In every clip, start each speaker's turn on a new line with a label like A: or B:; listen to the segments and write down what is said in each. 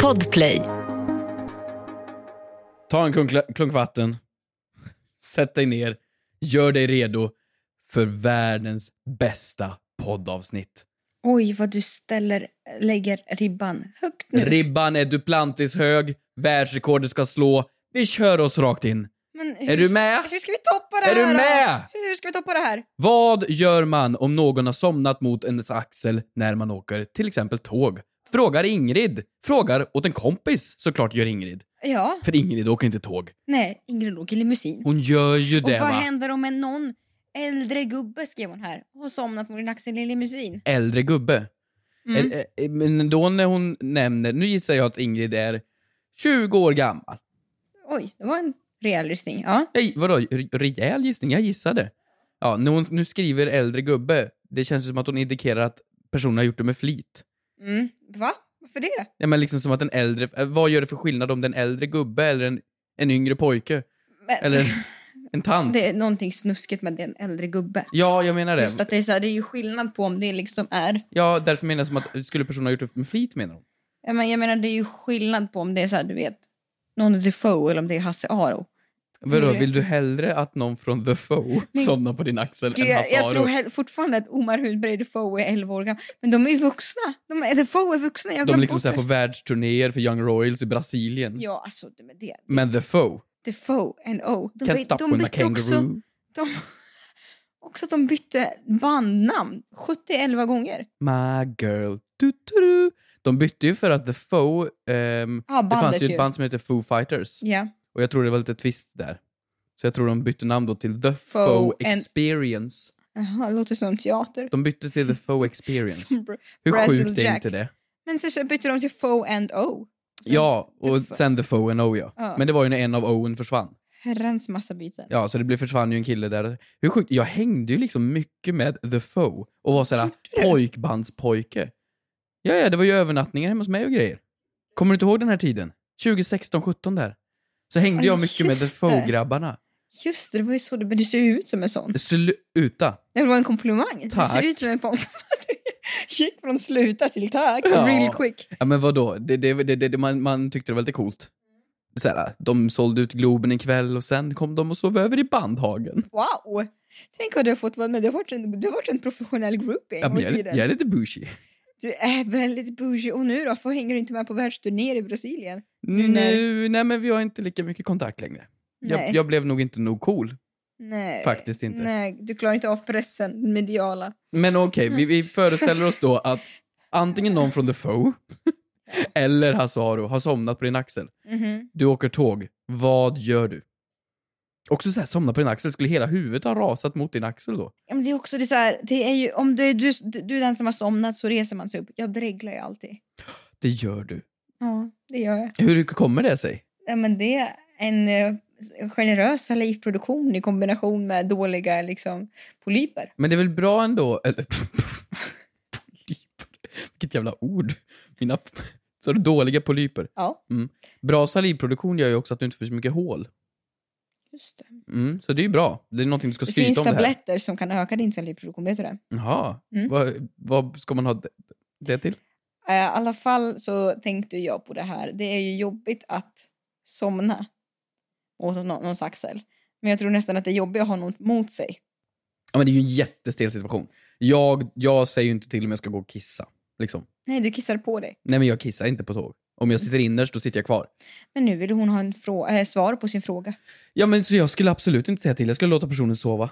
A: Podplay.
B: Ta en klunk, klunk vatten, sätt dig ner, gör dig redo för världens bästa poddavsnitt.
C: Oj, vad du ställer, lägger ribban högt nu.
B: Ribban är Duplantis hög, världsrekordet ska slå. Vi kör oss rakt in.
C: Men hur,
B: Är du med?
C: Hur ska vi toppa det
B: Är
C: här?
B: du
C: då?
B: med?
C: Hur ska vi toppa det här?
B: Vad gör man om någon har somnat mot ens axel när man åker till exempel tåg? Frågar Ingrid. Frågar åt en kompis, såklart gör Ingrid.
C: Ja,
B: För Ingrid åker inte tåg.
C: nej, Ingrid åker limousin.
B: Hon gör ju
C: Och
B: det
C: vad
B: va?
C: händer om en någon äldre gubbe, skrev hon här, har somnat mot din axel i limousin?
B: Äldre gubbe.
C: Mm.
B: Eh, eh, Men då när hon nämner, nu gissar jag att Ingrid är 20 år gammal.
C: Oj, det var en rejäl lyssning. Ja.
B: Nej, vadå? Re- Rejäl gissning? Jag gissade. Ja, när hon nu skriver äldre gubbe, det känns ju som att hon indikerar att personen har gjort det med flit.
C: Mm. Va? Varför det?
B: Ja, men liksom som att en äldre... eh, Vad gör det för skillnad om det är en äldre gubbe eller en, en yngre pojke?
C: Men,
B: Eller en, en tant?
C: Det är någonting snuskigt med den äldre gubbe.
B: Ja, jag menar
C: Just
B: det.
C: att det är, så här, det är ju skillnad på om det liksom är...
B: Ja, därför menar jag som att eh, skulle personen ha gjort det med flit menar hon.
C: Jag menar, jag menar det är ju skillnad på om det är så här, du vet, någon är Defoe eller om det är Hasse Aro.
B: Vadå,
C: Jag vet.
B: vill du hellre att någon från The Foe somnar på din axel
C: Gud,
B: än
C: jag,
B: Hasse
C: jag tror
B: Aro?
C: hell- fortfarande att Omar Hudberg och Defoe är 11 år gamla. Men de är ju vuxna. De är, Defoe är vuxna. Jag har
B: De är
C: glömt
B: liksom
C: bort
B: så här
C: det.
B: på världsturnéer för Young Royals i Brasilien.
C: Ja, alltså det med det.
B: Men The Foe,
C: Defoe and O. De,
B: Can't
C: by-
B: stop
C: de
B: when I
C: bytte också,
B: kangaroo.
C: de, också att de bytte bandnamn 70-11 gånger.
B: My girl. Du, du, du. De bytte ju för att The Foe... ehm,
C: Ja,
B: det
C: bandet
B: fanns ju ett band som heter Foo Fighters.
C: Ja.
B: Och jag tror det var lite twist där. Så jag tror de bytte namn då till The
C: Foe
B: Foe
C: and-
B: Experience.
C: Jaha, det låter som teater.
B: De bytte till The Foe Experience.
C: Som Bra-
B: Hur
C: Brazil
B: sjukt är
C: Jack.
B: inte det?
C: Men sen så bytte de till Foe and O. Sen
B: Ja, och
C: The Foe.
B: sen The Foe and O ja.
C: Ja.
B: Men det var ju när en av Owen försvann.
C: Herrans massa byten.
B: Ja, så det blev försvann ju en kille där. Hur sjukt? Jag hängde ju liksom mycket med The Foe och var såhär pojkbandspojke. Ja, ja, det var ju övernattningar hemma hos mig och grejer. Kommer du inte ihåg den här tiden? 2016, 17 där. Så hängde
C: Ja,
B: jag mycket med The
C: just det.
B: Foe-grabbarna.
C: Just det, det var ju så det, men du ser ju ut som en sån.
B: Sluta!
C: Det var en komplimang.
B: Tack.
C: Du ser ut som en pommes. gick från sluta till tack,
B: Ja.
C: real quick.
B: Ja, men vadå? Det, det, det, det, det, man, man tyckte det var lite coolt. Såhär, de sålde ut Globen en kväll och sen kom de och sov över i Bandhagen.
C: Wow! Tänk vad du har fått vara med. Du har varit en, du har varit en professionell groupie
B: Ja,
C: en gång
B: men
C: i
B: jag, är-
C: tiden.
B: jag är lite bougie.
C: Du är väldigt bougie. Och nu då? Får hänger du inte med på världsturnéer i Brasilien? Nu när-
B: Nu, nej men vi har inte lika mycket kontakt längre.
C: Nej.
B: Jag, jag blev nog inte nog cool.
C: Nej.
B: Faktiskt inte.
C: Eh, Nej, du klarar inte av pressen, den mediala.
B: Men okej, vi, vi föreställer oss då att antingen någon från The Foe eller Hasse Aro har somnat på din axel.
C: Mhm.
B: Du åker tåg. Vad gör du? Också såhär, somna på din axel. Skulle hela huvudet ha rasat mot din axel då?
C: Ja, men det är också det så här, det är ju, om du, är- du, du är den som har somnat så reser man sig upp. Jag dreglar ju alltid.
B: Det gör du.
C: Ja, det gör jag.
B: Hur kommer det sig?
C: Ja, men det är en eh, generös salivproduktion i kombination med dåliga liksom, polyper.
B: Men det är väl bra ändå, eller... polyper. Vilket jävla ord. Mina... Så du dåliga polyper.
C: Ja,
B: Bra salivproduktion gör ju också att du inte får så mycket hål.
C: just det.
B: Mm, så det är ju bra. Det är någonting du ska
C: Det
B: skryta
C: finns
B: om det här.
C: tabletter som kan öka din salivproduktion, vet du det?
B: Jaha.
C: Mm.
B: Vad, vad ska man ha det, det till?
C: Eh, I alla fall så tänkte jag på det här. Det är ju jobbigt att somna åt nå- någons axel. Men jag tror nästan att det är jobbigt att ha något mot sig.
B: Ja, men det är ju en jättestel situation. Jag, jag säger ju inte till om jag ska gå och kissa. Liksom.
C: Nej, du kissar på dig.
B: Nej, men jag kissar inte på tåg. Om jag sitter innerst, då sitter jag kvar.
C: Men nu vill hon ha en frå- eh, svar på sin fråga.
B: Ja, men så jag skulle absolut inte säga till. Jag skulle låta personen sova.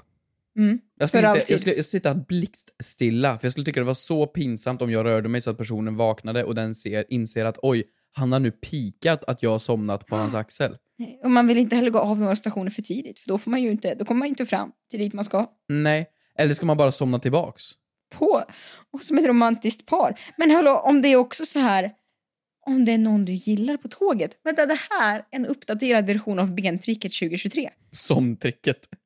C: Mm.
B: Jag skulle,
C: För
B: inte,
C: alltid.
B: jag skulle, jag skulle sitta blixtstilla, för jag skulle tycka det var så pinsamt om jag rörde mig så att personen vaknade och den ser, inser att oj, han har nu pikat att jag har somnat på hans axel.
C: Nej, Och man vill inte heller gå av några stationer för tidigt, för då, får man ju inte, då kommer man ju inte fram till dit man ska.
B: Nej. Eller ska man bara somna tillbaks?
C: på. Och som ett romantiskt par. Men hallå, om det är också så här... Om det är någon du gillar på tåget. Vänta, det här är en uppdaterad version av bentricket 2023.
B: Somtricket.
C: Som-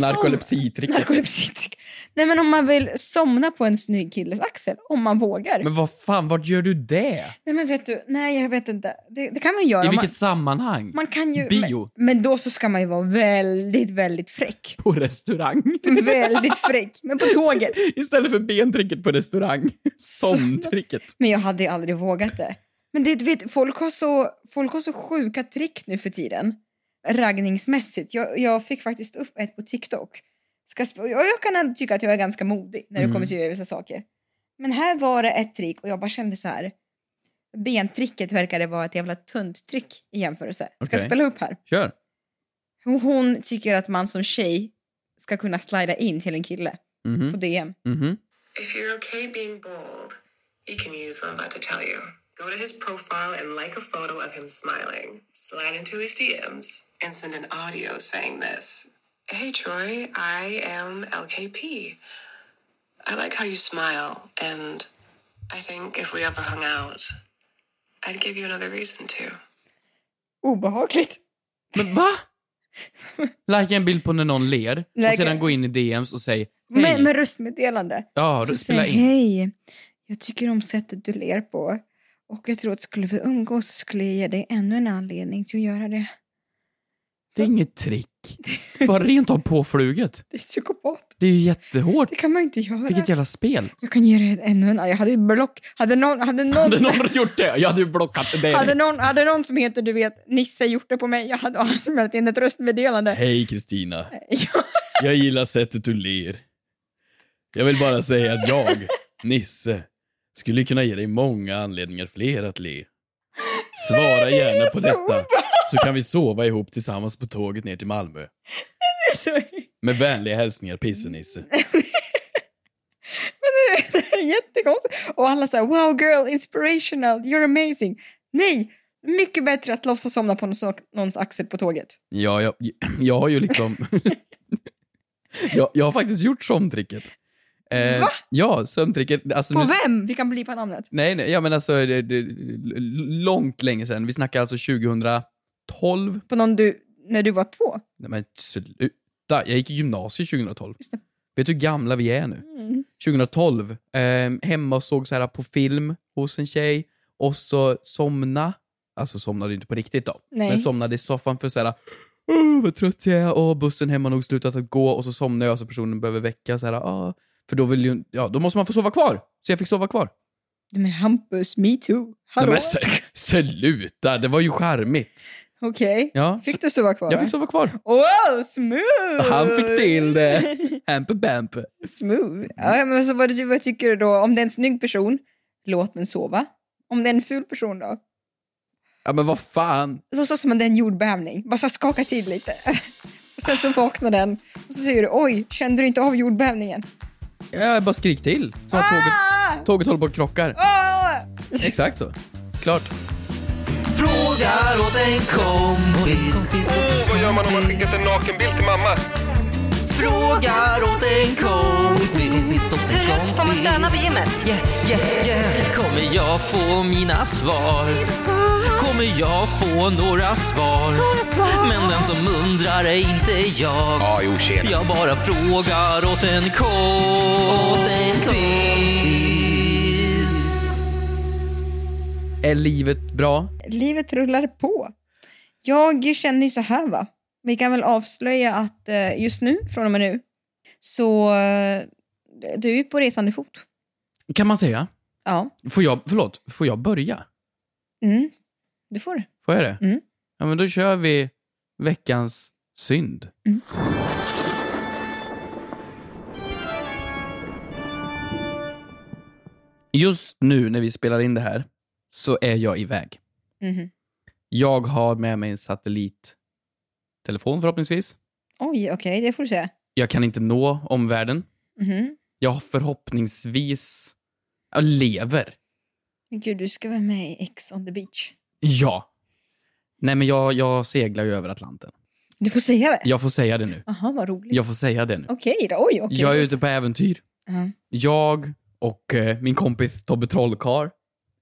B: Narkolepsitricket.
C: Narkolepsitrick. Nej, men om man vill somna på en snygg killes axel. Om man vågar.
B: Men vad fan, vart gör du det?
C: Nej, men vet du. Nej, jag vet inte. Det, det kan man göra.
B: I
C: Man-
B: vilket sammanhang?
C: man kan ju...
B: Bio?
C: Men, men då så ska man ju vara väldigt, väldigt fräck.
B: På restaurang?
C: väldigt fräck. Men på tåget.
B: Istället för bentricket på restaurang. Somtricket.
C: Men jag hade ju aldrig vågat det. Men det, du vet, folk, har så, folk har så sjuka trick nu för tiden. Raggningsmässigt. Jag, jag fick faktiskt upp ett på TikTok. Ska sp- och jag kan tycka att jag är ganska modig när det
B: Mm.
C: kommer till att göra vissa saker. Men här var det ett trick och jag bara kände så här. Bentricket verkade vara ett jävla tunt trick i jämförelse. Ska
B: Okej.
C: jag spela upp här?
B: Kör.
C: Hon- Hon tycker att man som tjej ska kunna slida in till en kille på
B: Mhm,
C: DM.
B: mhm.
A: If you're okay being bold, he can use what I'm about to tell you. Go to his profile and like a photo of him smiling. Slide into his DMs and send an audio saying this Hey Troy, I am LKP. I like how you smile, and I think if we ever hung out, I'd give you another reason to.
C: Obehagligt.
B: Men va? Like en bild på när någon ler och
C: Like-
B: sedan gå in i DMs och säg hej.
C: Med, med röstmeddelande.
B: ja,
C: Så
B: du spelar
C: säg,
B: in.
C: Hej, jag tycker om sättet du ler på. Och jag tror att skulle vi umgås så skulle jag ge dig ännu en anledning till att göra det.
B: Det är inget trick. Bara rent av påfluget.
C: Det är psykopat.
B: Det är ju jättehårt.
C: Det kan man ju inte göra.
B: Vilket jävla spel.
C: Jag kan ge dig ännu en. Jag hade ju block... Hade någon... Hade någon...
B: Hade någon gjort det? Jag hade ju blockat det.
C: Hade
B: direkt.
C: någon, hade någon som heter du vet Nisse gjort det på mig, jag hade anmält in ett röstmeddelande.
B: Hej Kristina.
C: Ja,
B: Jag gillar sättet du ler. Jag vill bara säga att jag, Nisse, skulle kunna ge dig många anledningar fler att le. Svara gärna på
C: så
B: detta, så kan vi sova ihop tillsammans på tåget ner till Malmö.
C: så-
B: Med vänliga hälsningar, Pissenisse.
C: det här är jättekonstigt. Och alla säger wow girl, inspirational, you're amazing. Nej, mycket bättre att låtsas somna på någons, någons axel på tåget.
B: Ja, jag, jag har ju liksom... jag, jag har faktiskt gjort sömntricket. Eh,
C: Va?
B: Ja, sömntricket. Alltså
C: På
B: nu-
C: vem? Vi kan bli på namnet.
B: Nej, nej, ja men alltså det, det, långt länge sedan. Vi snackar alltså 2012.
C: På någon du, när du var två.
B: Nej men sluta. Jag gick i gymnasiet 2012.
C: Just det. Mm.
B: Vet du hur gamla vi är nu? 2012. ehm, hemma och såg så här på film hos en tjej och så somna. Alltså somnade inte på riktigt då.
C: Nej.
B: Men somnade i soffan för så här. Åh, vad trött jag är. Åh, bussen hemma har nog slutat att gå. Och så somnade jag så personen behöver väcka så här. Åh. För då vill ju, ja, då måste man få sova kvar. Så jag fick sova kvar.
C: Men Hampus, me too.
B: Nej,
C: Hallå?
B: Men s- sluta, det var ju charmigt.
C: Okej.
B: Ja,
C: Fick du sova kvar?
B: jag
C: va?
B: fick sova kvar.
C: Wow, smooth!
B: Han fick till det. Hampe bampe.
C: smooth. Ja, men så vad, ty- vad tycker du då? Om det är en snygg person, låt den sova. Om det är en ful person då?
B: Ja men vad fan.
C: låtsas som att det är en jordbävning. Bara så här skaka till lite. Och sen så vaknar den och så säger du oj, kände du inte av jordbävningen?
B: Jag bara skrik till. Så att tåget,
C: Ah!
B: tåget håller på att krockar.
C: Ah!
B: Exakt så. Klart.
D: Frågar åt en kompis.
E: Åh, Oh, vad gör man om man skickat en nakenbild till mamma?
D: Frågar åt en kompis. Åt en
F: Hur högt får man stöna på gymmet?
D: Yeah, yeah, yeah. Kommer jag få mina svar? Kommer jag få några svar? Men den som undrar är inte jag.
E: Ja, jo, tjena.
D: Jag bara frågar åt en kompis.
B: Är livet bra?
C: Livet rullar på. Jag känner ju så här va. Vi kan väl avslöja att eh, just nu, från och med nu, så eh, du är ju på resande fot.
B: Kan man säga.
C: Ja,
B: Får jag, förlåt, får jag börja?
C: mm. du får det.
B: Får jag det?
C: Mm.
B: Ja men då kör vi veckans synd.
C: Mm.
B: Just nu när vi spelar in det här så är jag iväg.
C: Mhm.
B: Jag har med mig en satellittelefon förhoppningsvis.
C: Oj, okej, det får du säga.
B: Jag kan inte nå omvärlden.
C: Mhm.
B: Jag har förhoppningsvis... Jag lever.
C: Men Gud, du ska vara med i Ex on the beach.
B: Ja. Nej, men jag, jag seglar ju över Atlanten.
C: Du får säga det.
B: Jag får säga det nu.
C: Jaha, vad roligt.
B: Jag får säga det nu.
C: Okej då, oj, okej.
B: Jag är ute på äventyr.
C: Ja.
B: Jag och eh, min kompis Tobbe Trollkarl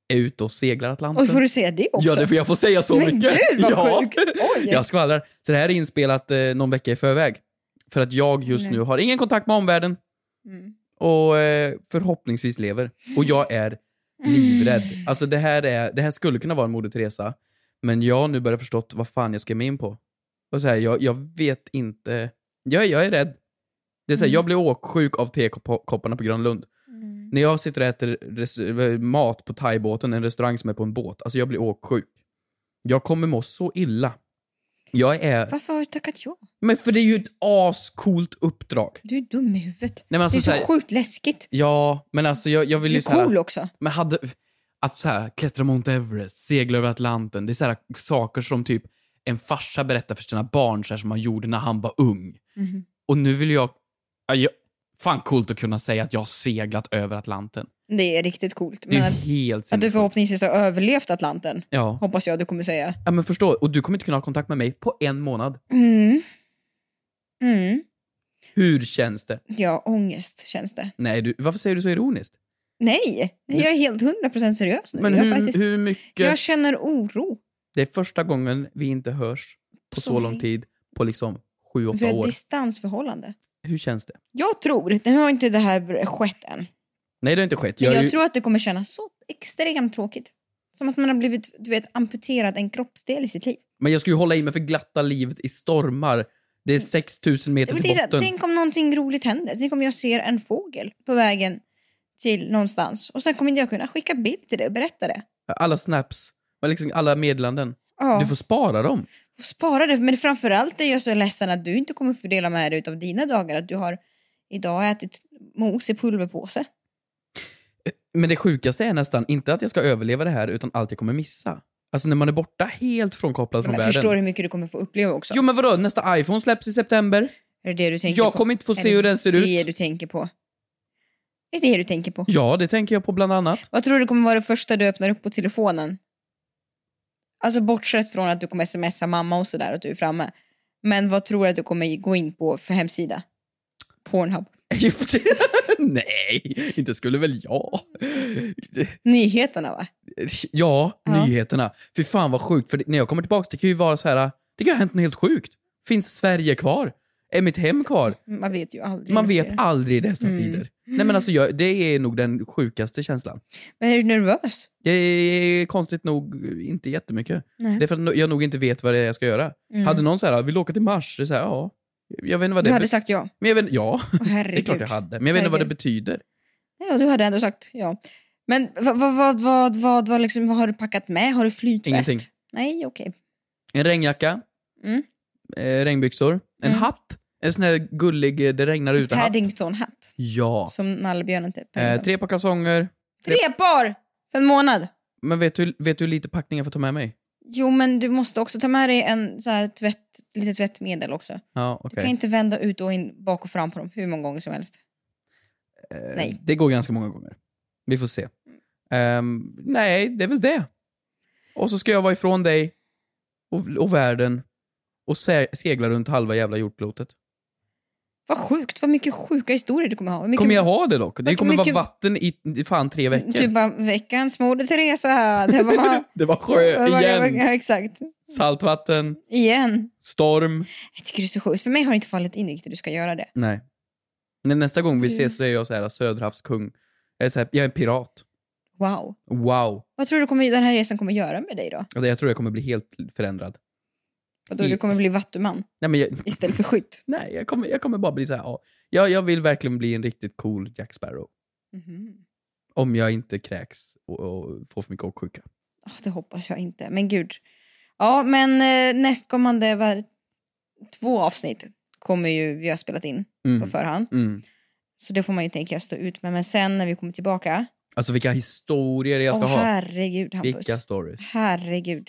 B: är ute och seglar Atlanten.
C: Oj, får du säga det också?
B: Ja, det får jag får säga så
C: Men
B: mycket.
C: gud, vad
B: ja.
C: sjukt. Oj.
B: Jag skvallrar. Så det här är inspelat eh, någon vecka i förväg. För att jag just
C: Nej.
B: nu har ingen kontakt med omvärlden
C: Mm.
B: och eh, förhoppningsvis lever. Och jag är
C: Mm.
B: livrädd. Alltså det här, är, det här skulle kunna vara en Moder Teresa, men jag har nu börjat förstått vad fan jag ska ge mig in på. Och så här, jag, jag vet inte. Jag, jag är rädd. Det är så här,
C: Mm.
B: Jag blev åksjuk av tekopparna på Grönlund.
C: Mm.
B: När jag sitter och äter res- mat på thaibåten, en restaurang som är på en båt, alltså jag blir åksjuk. Jag kommer må så illa. Jag är...
C: Varför har du tackat ja?
B: Men för det är ju ett ascoolt uppdrag.
C: Du är dum i huvudet.
B: Nej, men alltså
C: det är så,
B: så här-
C: sjukt läskigt.
B: Ja, men alltså jag, jag vill
C: Du
B: ju
C: är
B: så här...
C: cool också.
B: Men hade... Att så här, klättra Mount Everest, segla över Atlanten, det är så här saker som typ en farsa berättar för sina barn så här, som han gjorde när han var ung.
C: Mhm.
B: Och nu vill jag... Ja, jag fan coolt att kunna säga att jag har seglat över Atlanten.
C: Det är riktigt coolt.
B: Det är
C: Men
B: ju
C: att,
B: helt
C: att du
B: sinnessjukt.
C: förhoppningsvis har överlevt Atlanten
B: Ja.
C: hoppas jag du kommer säga.
B: ja, men förstå. Och du kommer inte kunna ha kontakt med mig på en månad.
C: Mm. Mm.
B: Hur känns det?
C: Ja, ångest känns det.
B: Nej, du, varför säger du så ironiskt?
C: Nej, jag är helt 100% seriös nu.
B: Men
C: jag,
B: hur,
C: faktiskt,
B: hur mycket...
C: jag känner oro.
B: Det är första gången vi inte hörs på så,
C: Så
B: lång
C: länge.
B: tid på liksom sju,
C: Vi
B: åtta
C: har
B: år.
C: distansförhållande.
B: Hur känns det?
C: Jag tror, nu har inte det här skett än,
B: Nej, det har inte skett.
C: men
B: Jag,
C: jag,
B: är ju,
C: tror att det kommer kännas så extremt tråkigt. Som att man har blivit du vet, amputerad en kroppsdel i sitt liv.
B: men jag ska ju hålla i mig för glatta livet i stormar. Det är 6000 meter
C: Mm. Men
B: till
C: det är så här,
B: botten.
C: tänk om någonting roligt händer. Tänk om jag ser en fågel på vägen till någonstans och sen kommer inte jag kunna skicka bild till dig och berätta det.
B: Alla snaps, men liksom alla meddelanden.
C: Ja,
B: Du får spara dem.
C: får spara det. Men framförallt är jag så ledsen att du inte kommer fördela med dig av dina dagar. Att du har idag ätit mos i pulverpåse.
B: Men det sjukaste är nästan inte att jag ska överleva det här, utan allt jag kommer missa. Alltså när man är borta helt frånkopplad från
C: Men
B: världen.
C: förstår du hur mycket du kommer få uppleva också?
B: Jo men vadå, nästa iPhone släpps i september.
C: Är det det du tänker
B: Jag
C: på?
B: kommer inte få
C: Är
B: se hur den ser
C: Det är det du
B: ut.
C: tänker på. Är det det du tänker på?
B: Ja, det tänker jag på bland annat.
C: Vad tror du kommer vara det första du öppnar upp på telefonen? Alltså bortsett från att du kommer smsa mamma och sådär och att du är framme. Men vad tror du att du kommer gå in på för hemsida? Pornhub.
B: Nej, inte skulle väl jag.
C: Nyheterna va?
B: Ja,
C: Ja.
B: nyheterna. Fy fan vad sjukt, för det- när jag kommer tillbaka det kan ju vara så här. det kan ha hänt något helt sjukt. Finns Sverige kvar? Är mitt hem kvar?
C: Man vet ju aldrig.
B: Man
C: nu för
B: vet
C: tiden.
B: aldrig i dessa
C: Mm.
B: tider. Nej men alltså, jag, det är nog den sjukaste känslan.
C: Men är du nervös?
B: Det är konstigt nog inte jättemycket.
C: Nej.
B: Det är för att no- jag nog inte vet vad det är jag ska göra.
C: Mm.
B: Hade någon så här, vill du åka till Mars? Det är så här, ja. Jag vet inte vad
C: du
B: det
C: hade
B: bet-
C: sagt ja.
B: men jag vet, Ja,
C: Åh, herregud.
B: det är klart jag hade. Men jag vet inte vad det
C: Herregud.
B: betyder.
C: Ja, du hade ändå sagt ja. Men vad, vad, vad, vad, vad, vad, liksom, vad har du packat med? Har du flytväst?
B: Ingenting.
C: Nej, okej.
B: En regnjacka.
C: Mm.
B: Eh, regnbyxor. En
C: Mm.
B: hatt. En sån här gullig eh, det regnar ute-hatt.
C: Paddington-hatt.
B: Ja.
C: Som nallebjörnen typ.
B: Eh, tre par kalsonger.
C: Tre par! För en månad.
B: Men vet du, vet du hur lite packning jag får ta med mig?
C: Jo, men du måste också ta med dig en så här tvätt, lite tvättmedel också.
B: Ja,
C: Du kan
B: okej.
C: inte vända ut och in, bak och fram på dem hur många gånger som helst.
B: Eh,
C: nej.
B: Det går ganska många gånger. Vi får se. Ehm, nej, det är väl det. Och så ska jag vara ifrån dig och, och världen och se, segla runt halva jävla jordklotet.
C: Vad sjukt, vad mycket sjuka historier du kommer ha. Vad Mycket,
B: Kommer jag ha det dock? Det
C: Mycket-
B: kommer vara
C: mycket-
B: vatten i, i fan tre veckor.
C: Typ bara, veckans mode Teresa här. Det var...
B: Det var sjö igen.
C: Ja, exakt.
B: Saltvatten,
C: Igen.
B: storm.
C: Jag tycker det är så sjukt. För mig har det inte fallit in riktigt att du ska göra det.
B: Nej. När nästa gång vi
C: Du-
B: ses så är jag så här söderhavskung. Jag är, så här, jag är en pirat.
C: Wow.
B: Wow.
C: Vad tror du kommer, den här resan kommer göra med dig då?
B: Och det- Alltså, Jag tror jag kommer bli helt förändrad.
C: Och då du kommer bli vattuman
B: Nej, men jag,
C: istället för skytt?
B: nej jag, kommer, jag kommer bara bli så här. Ja, jag, jag vill verkligen bli en riktigt cool Jack Sparrow.
C: Mhm.
B: Om jag inte kräks och, och får för mycket åksjuka.
C: Åh, Ah, det hoppas jag inte. Men gud. Ja, men eh, nästkommande var två avsnitt kommer ju vi har spelat in
B: Mm.
C: på förhand.
B: Mm.
C: Så det får man ju tänka stå ut med. Men sen när vi kommer tillbaka.
B: Alltså vilka historier jag ska
C: åh,
B: ha.
C: herregud Hampus.
B: Vilka stories.
C: Herregud.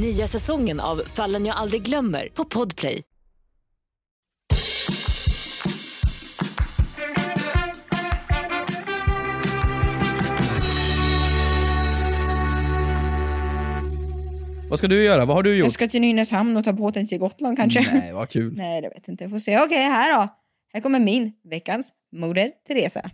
F: Nya säsongen av Fallen jag aldrig glömmer på Podplay.
B: Vad ska du göra? Vad har du
C: Jag
B: gjort?
C: ska till Nynäshamn och ta båten till Gotland kanske.
B: Mm, Nej, vad kul.
C: Nej, det vet jag inte. Jag får se. Okej, här då. Här kommer min, veckans moder Teresa.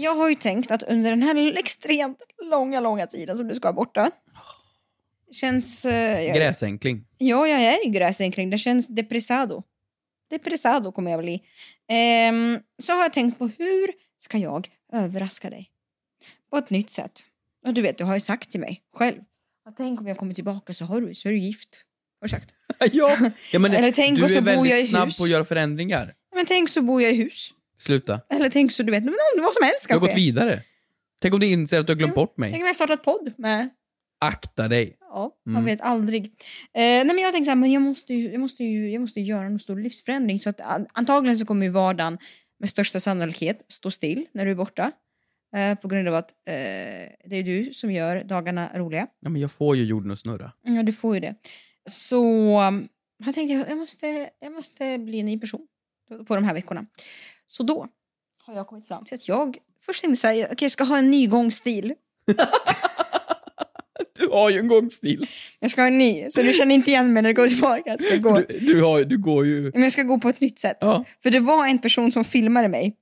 C: Jag har ju tänkt att under den här extremt långa, långa tiden som du ska vara borta. Känns... eh, jag-
B: Gräsänkling.
C: Ja, jag är ju gräsänkling. Det känns depressado. Depressado kommer jag bli. Ehm, så har jag tänkt på hur ska jag överraska dig? På ett nytt sätt. Och du vet, du har ju sagt till mig själv. att Tänk om jag kommer tillbaka så, har du, så är du gift. Har du sagt.
B: ja. ja, men
C: Eller tänk
B: du
C: och så
B: är
C: bor jag i
B: väldigt snabb
C: hus.
B: på att göra förändringar.
C: Men tänk så bor jag i hus.
B: Sluta.
C: Eller tänk så, du vet, men vad som helst
B: Du har
C: kanske.
B: gått vidare. Tänk om du inser att du har glömt bort mig.
C: Tänk om jag startat podd med
B: Akta dig.
C: Ja, man
B: Mm.
C: vet aldrig. Eh, nej men jag tänkte så här, men jag måste ju, jag måste ju, jag måste ju göra någon stor livsförändring. Så att an- antagligen så kommer ju vardagen med största sannolikhet stå still när du är borta. Eh, på grund av att eh, det är du som gör dagarna roliga.
B: Ja, men jag får ju jorden att snurra.
C: Ja, du får ju det. Så um, jag tänkte jag, jag, måste, jag måste bli en ny person på de här veckorna. Så då har jag kommit fram till att jag först tänkte säga, okej jag ska ha en ny gångstil.
B: Du har ju en gångstil.
C: Jag ska ha en ny, så du känner inte igen mig när du går tillbaka. Jag ska gå.
B: Du, du, har, du går ju...
C: Men jag ska gå på ett nytt sätt.
B: Ja.
C: För det var en person som filmade mig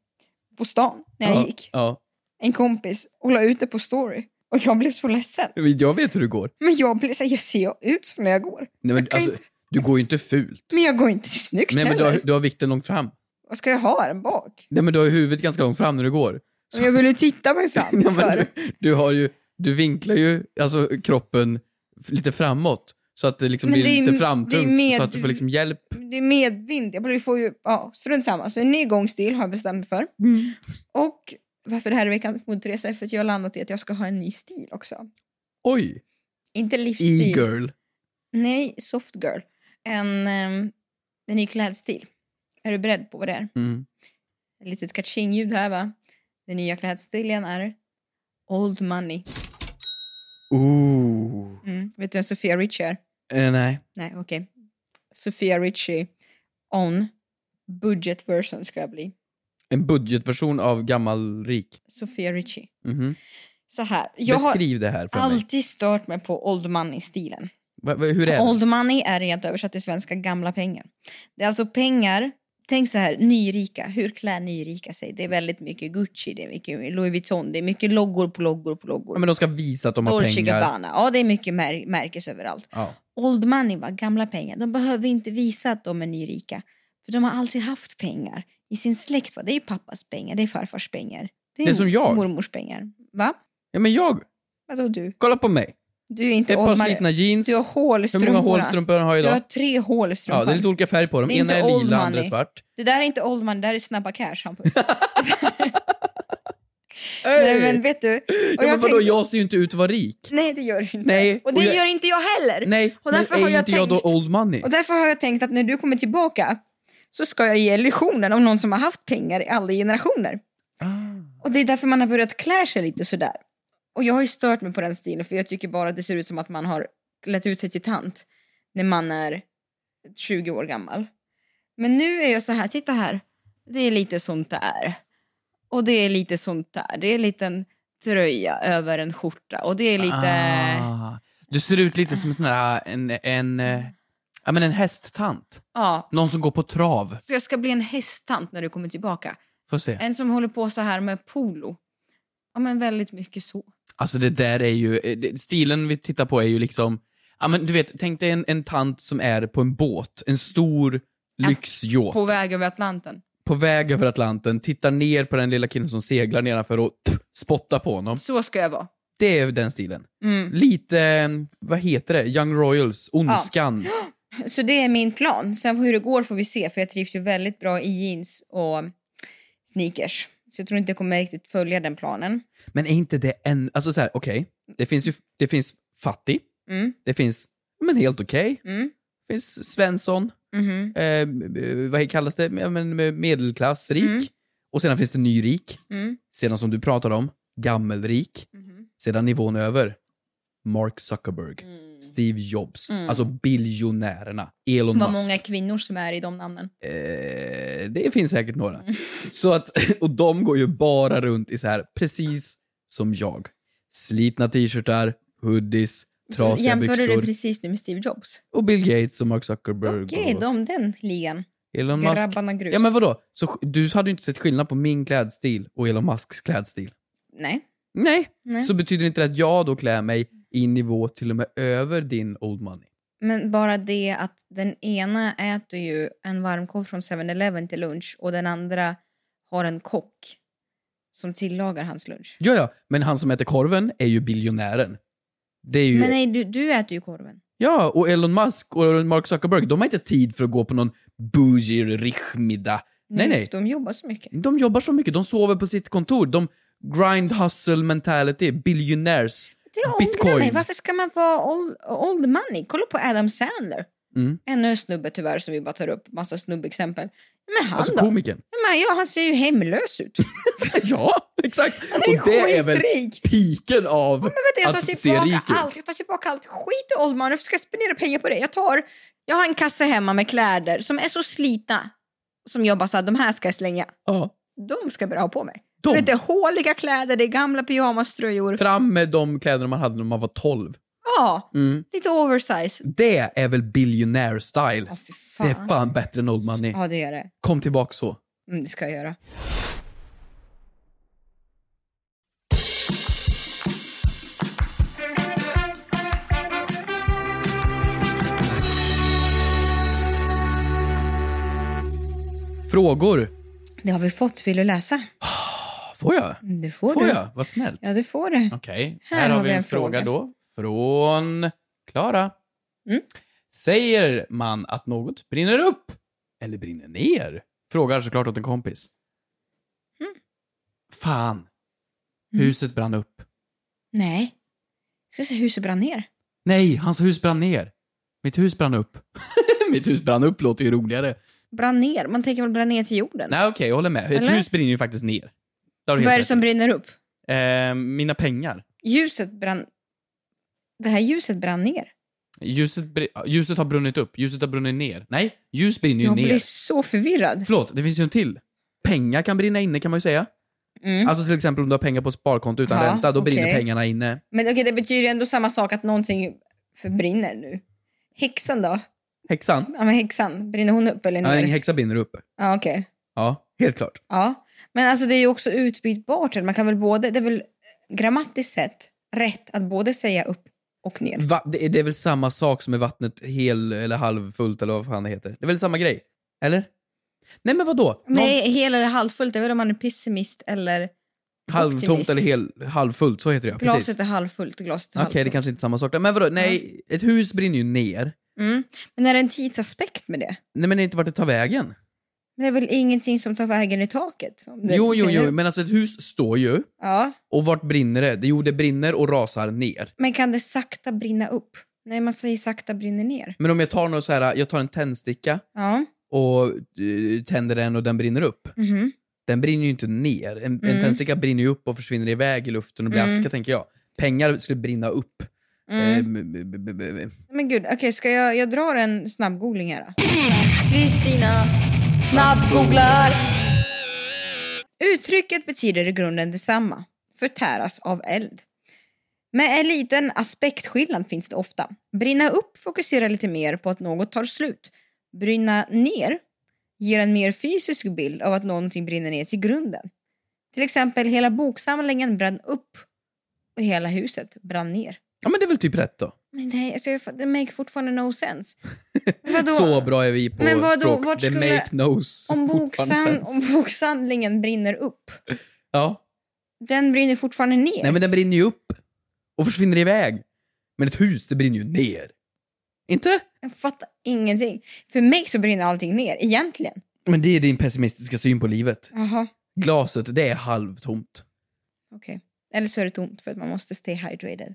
C: på stan när jag
B: ja,
C: gick.
B: Ja.
C: En kompis och la ut det på story. Och jag blev så ledsen.
B: Jag vet hur du går.
C: Men jag blev så här, jag ser jag ut som när jag går?
B: Nej, men,
C: Jag kan
B: alltså,
C: inte-
B: du går ju inte fult.
C: Men jag går inte snyggt
B: Nej, men du
C: heller.
B: har, du har vikten långt fram.
C: Vad ska jag ha den bak?
B: Nej, men du har ju huvudet ganska långt fram när du går.
C: Om jag vill ju titta mig fram.
B: Ja, men
C: för.
B: du, du, har ju, du vinklar ju alltså, kroppen f- lite framåt så att det liksom
C: Men
B: blir
C: det är ju-
B: lite
C: det är
B: framtungt
C: ju med-
B: så att du får liksom hjälp.
C: Det är medvind. Jag borde få ju, ja, strunt samma. Så en ny gångstil har jag bestämt mig för.
B: Mm.
C: Och varför det här är veckans modresa är för att jag har landat i att jag ska ha en ny stil också.
B: Oj!
C: Inte livsstil.
B: E-girl.
C: Nej, soft girl. En, ehm, en ny klädstil. Är du beredd på vad det är?
B: Mm.
C: Ett litet kaching-ljud här va? Den nya klädstilen är Old Money.
B: Ooh.
C: Mm. Vet du vem Sofia Richie är?
B: Eh, nej.
C: Nej, okej. Sofia Richie on budget version ska jag bli.
B: En budgetversion av gammal rik.
C: Sofia Richie.
B: Mhm.
C: Så här. Jag har
B: Beskriv det här för mig.
C: alltid stört mig på Old Money-stilen.
B: Va, va, hur är det?
C: Old money är rent översatt till svenska gamla pengar. Det är alltså pengar, tänk så här, nyrika, hur klär nyrika sig? Det är väldigt mycket Gucci, det är mycket Louis Vuitton, det är mycket loggor på loggor på loggor.
B: Ja, men de ska visa att de har
C: Dolce
B: pengar.
C: Gabbana, ja det är mycket mär- märkes överallt.
B: Ja.
C: Old money, va? gamla pengar, de behöver inte visa att de är nyrika. För de har alltid haft pengar i sin släkt. Va? Det är ju pappas pengar, det är farfars pengar.
B: Det är som jag.
C: mormors pengar. Va?
B: ja, men jag.
C: Vadå du?
B: Kolla på mig.
C: Du är inte
B: Ett par
C: old money.
B: slitna jeans.
C: Du har hål i
B: Hur många hål
C: strumporna.
B: strumporna har jag
C: Du har
B: idag?
C: tre hål i strumpan.
B: Ja, det är lite olika färg på dem.
C: Det är
B: Ena
C: inte
B: är
C: old
B: lila, andra är
C: money.
B: svart.
C: Det där är inte old man, det där är snabba cash, Hampus. Nej men vet du. Och
B: ja, men
C: jag
B: vadå,
C: tänkte-
B: jag ser ju inte ut att vara rik.
C: Nej det gör du inte.
B: Nej,
C: och det
B: och jag-
C: gör inte jag heller.
B: Nej,
C: och
B: men
C: därför
B: är
C: har jag
B: inte jag då
C: tänkt-
B: old money?
C: Och därför har jag tänkt att när du kommer tillbaka så ska jag ge illusionen om någon som har haft pengar i alla generationer. Och det är därför man har börjat klä sig lite sådär. Och jag har ju stört mig på den stilen för jag tycker bara att det ser ut som att man har klätt ut sig till tant när man är 20 år gammal. Men nu är jag så här, titta här. Det är lite sånt där. Och det är lite sånt där. Det är en liten tröja över en skjorta och det är lite...
B: Ah, du ser ut lite som en sån här, en, en, eh, ja men en hästtant.
C: Ja.
B: Någon som går på trav.
C: Så jag ska bli en hästtant när du kommer tillbaka.
B: Får se.
C: En som håller på så här med polo. Ja, men väldigt mycket så.
B: Alltså det där är ju, eh, det- stilen vi tittar på är ju liksom, ja men du vet, tänk dig en, en tant som är på en båt, en stor lyxjåt.
C: På väg över Atlanten.
B: på väg över Atlanten, tittar ner på den lilla killen som seglar nedanför och tff, spottar på honom.
C: Så ska jag vara.
B: Det är den stilen.
C: Mm.
B: Lite, eh, vad heter det, Young Royals, Ondskan.
C: Så det är min plan. Sen hur det går får vi se, för jag trivs ju väldigt bra i jeans och sneakers. Så jag tror inte jag kommer riktigt följa den planen.
B: Men är inte det en... Alltså så här, okej. Det finns ju... Det finns fattig.
C: Mm.
B: Det finns, men helt okej.
C: Mm.
B: Det finns Svensson.
C: Mhm.
B: Eh, eh, vad kallas det? Ja, men med- Medelklass, rik. Och sedan finns det nyrik.
C: Mm. Mm-hmm.
B: Sedan som du pratade om, gammelrik. Sedan nivån över, Mark Zuckerberg.
C: Mm.
B: Steve Jobs. Alltså biljonärerna. Elon
C: Vad
B: Musk.
C: många kvinnor som är i de namnen.
B: Eh, det finns säkert några.
C: Mm.
B: Så att, och de går ju bara runt i så här, precis som jag. Slitna t-shirtar, hoodies,
C: Så
B: trasiga
C: jämförde du
B: byxor.
C: precis nu med Steve Jobs?
B: Och Bill Gates och Mark Zuckerberg.
C: Okej,
B: och,
C: de den ligan.
B: Elon Musk...
C: Grabbarna grus.
B: Ja men vadå? Så, sk- du hade ju inte sett skillnad på min klädstil och Elon Musks klädstil.
C: Nej.
B: Nej.
C: Nej.
B: Så betyder inte det att jag då klär mig i nivå till och med över din old money?
C: Men bara det att den ena äter ju en varmkorv från 7-Eleven till lunch och den andra har en kock som tillagar hans lunch.
B: Ja, ja. Men han som äter korven är ju biljonären. Det är ju...
C: Men nej, du, du äter ju korven.
B: Ja, och Elon Musk och Mark Zuckerberg, de har inte tid för att gå på någon bougie rich-middag. Nej, nej.
C: De jobbar så mycket.
B: De jobbar så mycket, de sover på sitt kontor. De grind hustle mentality, billionaires.
C: Det ångrar
B: Bitcoin.
C: mig. Varför ska man vara old, old money? Kolla på Adam Sandler.
B: Mm.
C: Ännu en snubbe tyvärr som vi bara tar upp massa snubbexempel. Men han
B: Alltså
C: då?
B: komikern.
C: Men, ja, han ser ju hemlös ut.
B: ja, exakt.
C: är ju
B: Och det är väl
C: skitrik.
B: piken av
C: Men vet du, jag
B: att
C: tar
B: se rik
C: tillbaka
B: ut.
C: allt. Jag tar tillbaka allt. Skit i Oldman. Varför ska jag spendera pengar på det? Jag tar... Jag har en kasse hemma med kläder som är så slitna som jag bara sa, de här ska jag slänga.
B: Ja,
C: De ska jag börja ha på mig.
B: De?
C: Det är håliga kläder, det är gamla pyjamaströjor.
B: fram med de kläderna man hade när man var 12.
C: Ja,
B: Mm.
C: lite oversize.
B: Det är väl billionaire style?
C: Ja, fy fan.
B: det är fan bättre än old money.
C: Ja, det är det.
B: Kom tillbaka så.
C: Mm, det ska jag göra.
B: Frågor?
C: Det har vi fått. Vill du läsa?
B: Får jag?
C: Mm, Det får,
B: Får
C: du.
B: jag? Vad snällt.
C: Ja, du får det.
B: Okej, här, har vi en, fråga då. Från Klara.
C: Mm.
B: Säger man att något brinner upp eller brinner ner? Frågar såklart åt en kompis.
C: Mm.
B: Fan. Huset brann upp.
C: Nej. Ska jag säga huset brann ner?
B: Nej, hans hus brann ner. Mitt hus brann upp. Mitt hus brann upp låter ju roligare.
C: Brann ner? Man tänker väl brann ner till jorden?
B: Nej, okej, jag håller med. Ett
C: Eller?
B: hus brinner ju faktiskt ner. Det har du
C: Vad är det
B: helt
C: som
B: rätt i.
C: brinner upp?
B: eh, Mina pengar.
C: ljuset brann... Det här ljuset brann ner.
B: Ljuset, br- ljuset har brunnit upp. Ljuset har brunnit ner. Nej, ljus brinner ju
C: Jag
B: ner.
C: blir så förvirrad.
B: Förlåt, det finns ju en till. Pengar kan brinna inne kan man ju säga.
C: Mm.
B: Alltså till exempel om du har pengar på ett sparkonto utan
C: Ja,
B: ränta, då brinner
C: okej.
B: pengarna inne.
C: Men okej, det betyder ju ändå samma sak att någonting förbrinner nu. Häxan då?
B: Häxan?
C: Ja, men häxan, brinner hon upp eller
B: Ja, en
C: ner?
B: häxa brinner uppe.
C: Ja, okej.
B: Ja, helt klart.
C: Ja. Men alltså det är ju också utbytbart. Man kan väl både, det är väl grammatiskt sett rätt att både säga upp och ner.
B: Va, det, är, det är väl samma sak som är vattnet hel eller halvfullt eller vad fan det heter. Det är väl samma grej? Eller? Nej men vadå? Någon
C: Nej, hel eller halvfullt, det är väl om man är pessimist eller
B: halvtomt
C: optimist.
B: eller hel, halvfullt, så heter det ja.
C: glaset
B: Precis.
C: är halvfullt, glaset är
B: Okej, det
C: halvtomt.
B: kanske inte är samma sak. där. Men vadå? Nej, ett hus brinner ju ner.
C: Mm. Men är det en tidsaspekt med det?
B: Nej men det är inte vart det tar vägen.
C: Men det är väl ingenting som tar vägen i taket? Om det
B: Jo, jo,
C: brinner
B: jo,
C: upp.
B: men alltså ett hus står ju.
C: Ja,
B: Och vart brinner det? Jo, det brinner och rasar ner.
C: men kan det sakta brinna upp? Nej, man säger sakta brinner ner.
B: Men om jag tar något så här, jag tar en tändsticka
C: Ja,
B: och eh, tänder den och den brinner upp.
C: mhm.
B: Den brinner ju inte ner. En, en
C: Mm.
B: tändsticka brinner ju upp och försvinner iväg i luften och blir
C: Mm.
B: aska, tänker jag. Pengar skulle brinna upp.
C: mm.
B: Ehm, b- b- b- b-
C: Men gud, okej, ska jag, jag drar en snabbgoogling här. då. Kristina snabbgooglar. Uttrycket betyder i grunden detsamma, förtäras av eld. Med en liten aspektskillnad finns det ofta. Brinna upp fokuserar lite mer på att något tar slut. Brinna ner ger en mer fysisk bild av att någonting brinner ner till grunden. Till exempel hela boksamlingen brann upp och hela huset brann ner.
B: Ja, men det är väl typ rätt då.
C: Men nej, alltså jag, det make fortfarande no sense. Vadå?
B: Så bra är vi på
C: Men vadå,
B: språk.
C: vart
B: Det
C: skulle-
B: make knows.
C: om, boksan, om boksamlingen brinner upp,
B: Ja.
C: den brinner fortfarande ner.
B: Nej, men den brinner ju upp och försvinner iväg. Men ett hus, det brinner ju ner. Inte?
C: Jag fattar ingenting. För mig så brinner allting ner, egentligen.
B: Men det är din pessimistiska syn på livet.
C: Jaha,
B: Glaset, det är halvtomt.
C: okej. Eller så är det tomt för att man måste stay hydrated.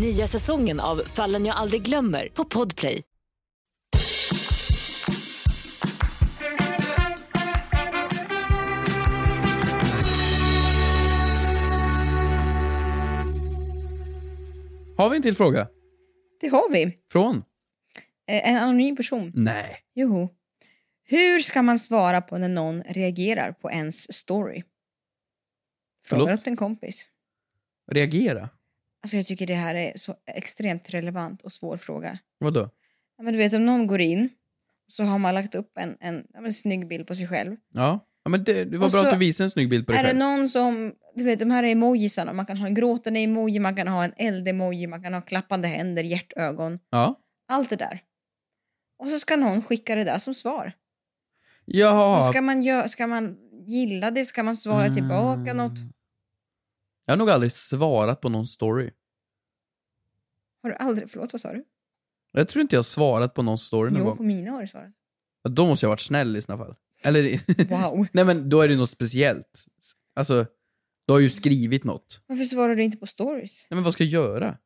F: Nya säsongen av Fallen jag aldrig glömmer på Podplay.
B: Har vi en till fråga?
C: Det har vi.
B: Från?
C: Eh, En anonym person.
B: Nej.
C: Joho. Hur ska man svara på när någon reagerar på ens story? Frågar
B: Förlåt?
C: åt en kompis.
B: Reagera?
C: Alltså jag tycker det här är så extremt relevant och svår fråga.
B: Vadå?
C: Ja, men du vet om någon går in så har man lagt upp en, en, ja, men en snygg bild på sig själv.
B: Ja. ja men det, det var
C: Och
B: bra
C: så-
B: att du visade en snygg bild på dig
C: Är det
B: själv.
C: någon som, du vet de här emojisarna, man kan ha en gråtande emoji, man kan ha en eld-emoji, man kan ha klappande händer, hjärtögon,
B: Ja.
C: allt det där. Och så ska någon skicka det där som svar. Och
B: Jaha.
C: Ska, man gö- ska man gilla det? Ska man svara
B: Mm.
C: tillbaka något?
B: Jag har nog aldrig svarat på någon story.
C: Har du aldrig, förlåt vad sa du?
B: Jag tror inte jag har svarat på någon story någon
C: Jo, på
B: gång.
C: mina har du svarat.
B: Ja, Då måste jag ha varit snäll i såna fall. Eller...
C: Wow.
B: Nej men då är det något speciellt. Alltså, du har ju skrivit något.
C: Varför svarar du inte på stories?
B: Nej men vad ska jag göra?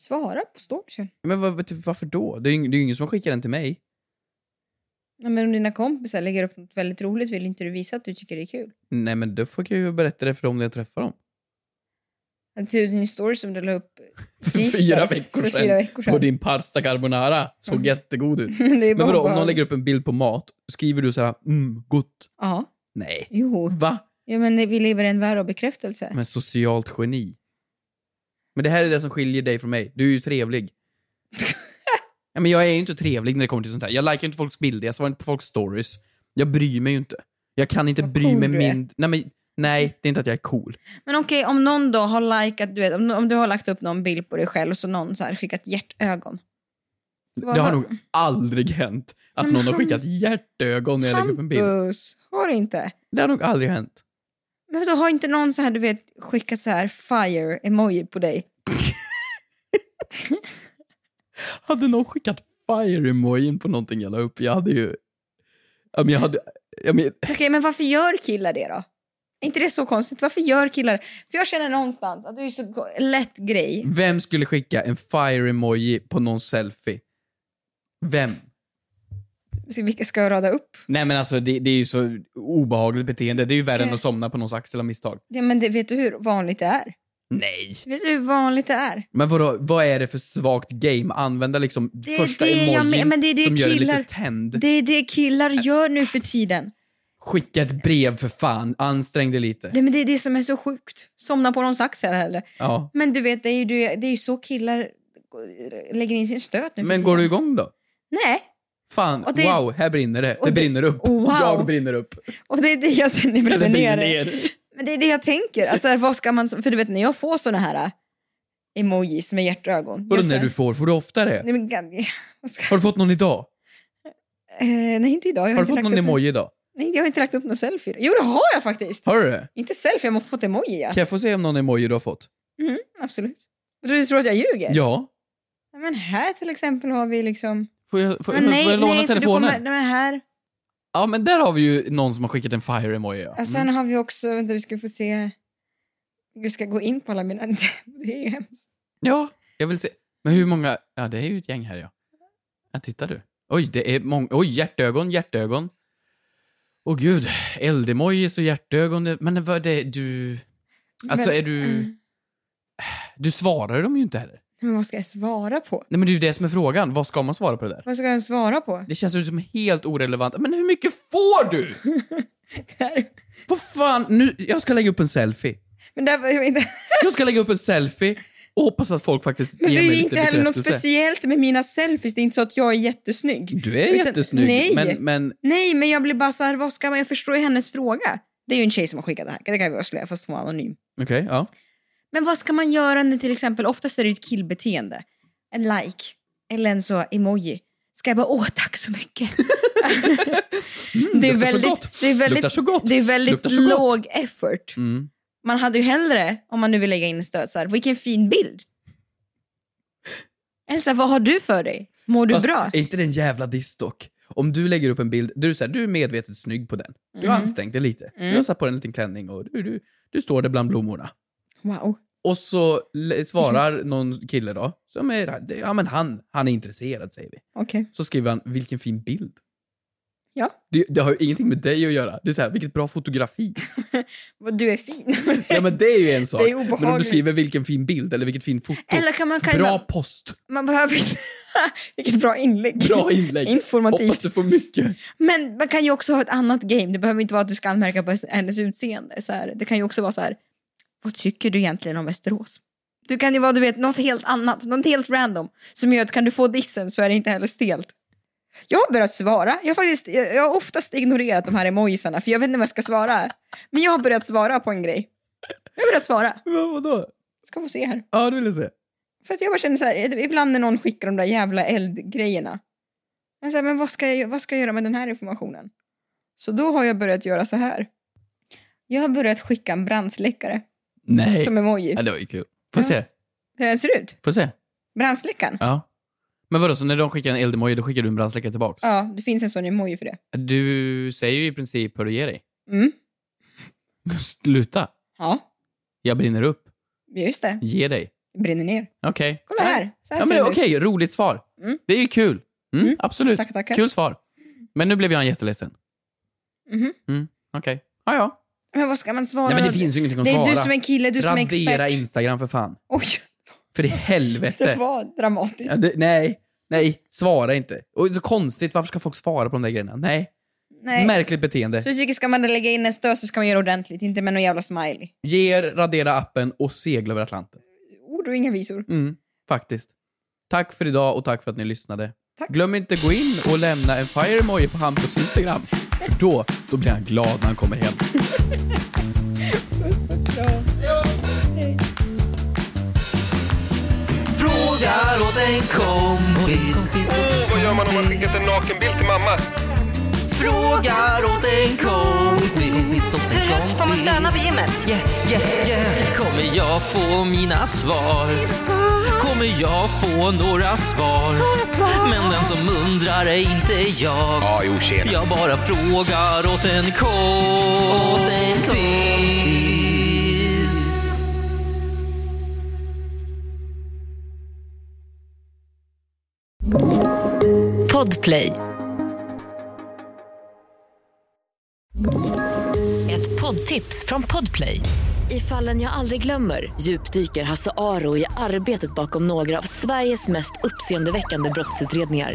C: Svara på storiesen.
B: Men vad, vet du, varför då? Det är ju det är ju ingen som skickar den till mig.
C: Ja, men om dina kompisar lägger upp något väldigt roligt vill inte du visa att du tycker det är kul?
B: Nej men då får jag ju berätta det för dem när jag träffar dem.
C: Att det är din story som du la upp
B: För
C: tisdags,
B: fyra veckor
C: för
B: sedan.
C: fyra
B: På
C: veckor sedan.
B: din pasta carbonara. Såg jättegod ut.
C: det är
B: Men vadå, om
C: bara-
B: någon lägger upp en bild på mat, skriver du så här mm, gott?
C: Ja,
B: Nej.
C: jo.
B: Va?
C: Ja, men vi lever i en värld av bekräftelse.
B: Men socialt geni. Men det här är det som skiljer dig från mig. Du är ju trevlig. ja, men jag är ju inte trevlig när det kommer till sånt här. Jag likar inte folks bilder, jag svarar inte på folks stories. Jag bryr mig ju inte. Jag kan inte
C: Vad
B: bry
C: cool
B: mig
C: du är.
B: mindre. Nej, men, nej, det är inte att jag är cool.
C: Men okej, om någon då har likat, du vet, om, om du har lagt upp någon bild på dig själv och så någon så här skickat hjärtögon. Vad-
B: Det har nog aldrig hänt att
C: Nej, men
B: någon har
C: han-
B: skickat hjärtögon när jag lägger upp en bild.
C: Hampus, har det inte?
B: Det har nog aldrig hänt.
C: Men så har inte någon så här, du vet, skickat så här fire-emoji på dig?
B: Hade någon skickat fire-emojin på någonting jag la upp, jag hade ju... Ja, men jag hade... Ja, men...
C: Okej, men varför gör killar det då? Är inte det så konstigt? Varför gör killar det? För jag känner någonstans att det är ju så go- lätt grej.
B: Vem skulle skicka en fire-emoji på någon selfie? Vem? Mm.
C: Så Vilka ska jag rada upp?
B: Nej men alltså det, det är ju så obehagligt beteende. Det är ju värre än att somna på någons axel av misstag.
C: Ja, men det, vet du hur vanligt det är?
B: Nej.
C: Vet du hur vanligt det är?
B: Men vadå, vad är det för svagt game? Använda liksom
C: är
B: första
C: det jag
B: emojin
C: men- men det är det
B: som gör dig
C: killar-
B: lite tänd.
C: Det är det killar gör nu för tiden.
B: Skicka ett brev för fan, ansträng dig lite.
C: Det, men det är det som är så sjukt. Somna på någons axel hellre.
B: Ja.
C: Men du vet, det är ju, det är ju så killar lägger in sin stöt nu för
B: Men
C: tiden.
B: går du igång då?
C: Nej,
B: Fan,
C: Och det-
B: wow, här brinner det. Det,
C: och det-
B: brinner upp.
C: Wow.
B: Jag brinner upp.
C: och det är det jag det
B: Eller
C: brinner ner.
B: ner.
C: Men det är det jag tänker. Alltså, vad ska man, för du vet när jag får såna här äh, emojis med hjärtögon.
B: Vadå
C: jag
B: när
C: säger-
B: du får? Får du ofta det?
C: Nej, men, gan- vad ska,
B: Har du fått någon idag?
C: eh, nej inte idag.
B: Har
C: Jag
B: du
C: inte
B: fått
C: lagt
B: någon
C: upp-
B: emoji idag?
C: Nej, jag har inte lagt upp någon selfie. Jo, det har jag faktiskt.
B: Har du det?
C: Inte selfie, jag har fått emoji. Ja.
B: Kan jag få se om någon emoji du har fått?
C: Absolut. Du tror att jag ljuger?
B: Ja.
C: Nej, Men här till exempel har vi liksom...
B: Får jag, får,
C: Men nej,
B: får jag låna
C: nej, för du
B: telefonen?
C: kommer... Nej, men här.
B: Ja, men där har vi ju någon som har skickat en fire-emoji. Ja. Mm.
C: Och sen har vi också, vänta vi ska få se... Vi ska gå in på alla mina DMs.
B: ja, jag vill se. Men hur många... Ja, det är ju ett gäng här, ja. Ja, tittar du. Oj, det är många... Oj, hjärtögon, hjärtögon. Åh gud, eldemojis och hjärtögon. det- Men vad det... Du... Alltså,
C: Men- mm.
B: är du... Du svarar dem ju inte heller.
C: Men vad ska jag svara på?
B: Nej, men det är ju det som är frågan. Vad ska man svara på det där?
C: Vad ska jag svara på?
B: Det känns ju som helt orelevant. Men hur mycket får du?
C: Det här.
B: Vad fan, nu... Jag ska lägga upp en selfie.
C: Men det, här var ju inte,
B: Jag ska lägga upp en selfie och hoppas att folk faktiskt
C: men det
B: ger
C: är
B: mig
C: ju
B: lite
C: inte heller något
B: bekräftelse.
C: speciellt med mina selfies. Det är inte så att jag är jättesnygg.
B: Du är
C: Utan-
B: jättesnygg,
C: nej.
B: men, men
C: Nej, men jag blir bara så här, vad ska man... Jag förstår ju hennes fråga. Det är ju en tjej som har skickat det här. Det kan vi avslöja fast hon var anonym.
B: okej, ja.
C: Men vad ska man göra när till exempel, oftast är det ju ett killbeteende. En like. Eller en så emoji. Ska jag bara, åh tack så mycket. det, är
B: Mm, luktar så
C: väldigt,
B: gott.
C: det är
B: Luktar
C: väldigt,
B: så gott.
C: det är
B: Luktar
C: väldigt
B: så gott.
C: låg effort.
B: Mm.
C: Man hade ju hellre, om man nu vill lägga in en stöt, så här, vilken fin bild. Elsa, vad har du för dig? Mår du
B: Fast,
C: bra?
B: Är inte det en jävla distock? Om du lägger upp en bild, du är, så här, du är medvetet snygg på den. Du
C: Mm.
B: har ansträngt dig lite. Du har satt på dig en liten klänning och du, du, du står där bland blommorna.
C: Wow.
B: Och så le- svarar någon kille då, som är, ja men han, han är intresserad säger vi.
C: Okej.
B: Så skriver han, vilken fin bild.
C: Ja,
B: Det, det har ju ingenting med dig att göra. Det är så här, vilket bra fotografi.
C: vad du är fin.
B: Ja men det är ju en sak.
C: Det är
B: men om du
C: obehagligt.
B: skriver vilken fin bild eller vilket fin foto.
C: Eller kan man kalla...
B: Bra post,
C: Man behöver inte... Vilket bra inlägg.
B: bra inlägg. Hoppas
C: Informativt.
B: du får mycket.
C: Men man kan ju också ha ett annat game. Det behöver inte vara att du ska anmärka på hennes utseende. Så här, det kan ju också vara så här... Vad tycker du egentligen om Västerås? Du kan ju vara du vet, något helt annat, något helt random som gör att kan du få dissen så är det inte heller stelt. Jag har börjat svara. Jag har, faktiskt, jag, jag har oftast ignorerat de här emojisarna för jag vet inte vad jag ska svara. Men jag har börjat svara på en grej. Jag har börjat svara.
B: Men vadå?
C: Ska få se här.
B: Ja, det vill jag se.
C: För att jag bara känner så här, eh, ibland när någon skickar de där jävla eldgrejerna. Men, så här, men vad, ska jag, vad ska jag göra med den här informationen? Så då har jag börjat göra så här. Jag har börjat skicka en brandsläckare
B: Nej.
C: som emoji.
B: Ja, det var ju kul. Får
C: Ja.
B: se.
C: Hur den ser ut.
B: Får se.
C: Brandsläckaren.
B: Ja. Men vadå, så när de skickar en eldemoji då skickar du en brandsläckare tillbaks?
C: Ja, det finns en sån emoji för det.
B: Du säger ju i princip hur du ger dig.
C: Mm.
B: Sluta.
C: Ja,
B: Jag brinner upp.
C: just det.
B: Ge dig.
C: Det brinner ner.
B: Okej.
C: Kolla här. Så här
B: Ja,
C: ser
B: men
C: den
B: det-
C: ut.
B: Okej, roligt svar.
C: Mm.
B: Det är ju kul. Mm,
C: Mm.
B: Absolut.
C: Tackar, tackar.
B: Kul svar. Men nu blev jag en jätteledsen.
C: Mhm.
B: Mm, Okej. Ah, ja.
C: Men vad ska man svara?
B: Nej, men det
C: då?
B: finns ju ingenting att
C: det
B: svara.
C: är du som är kille, du som är
B: Radera
C: expert.
B: Instagram för fan.
C: Oj,
B: För i
C: det
B: helvete.
C: var
B: Ja,
C: dramatiskt.
B: det, nej, nej, svara inte. Och det är så konstigt, varför ska folk svara på de där grejerna? Nej,
C: Nej.
B: märkligt beteende.
C: Så jag tycker ska man lägga in en stöt så ska man göra ordentligt, inte med någon jävla smiley.
B: Ger, radera appen och segla över Atlanten.
C: Ord och inga visor.
B: Mm, faktiskt. Tack för idag och tack för att ni lyssnade.
C: Tack.
B: Glöm inte gå in och lämna en fire emoji på Hampus Instagram. För då, då blir han glad när han kommer hem.
D: Frågar åt en kompis.
E: Åh, vad gör man om man skickat en nakenbild till mamma?
D: Frågar åt en kompis. Hur högt får man stöna på gymmet? Yeah, yeah, yeah. Kommer jag få mina svar? Kommer jag få några svar? Men den som undrar är inte jag.
E: Ja, jo, tjena.
D: Jag bara frågar åt en kompis.
F: Podplay. Ett poddtips från Podplay. I fallen jag aldrig glömmer djupdyker Hasse Aro i arbetet bakom några av Sveriges mest uppseendeväckande brottsutredningar.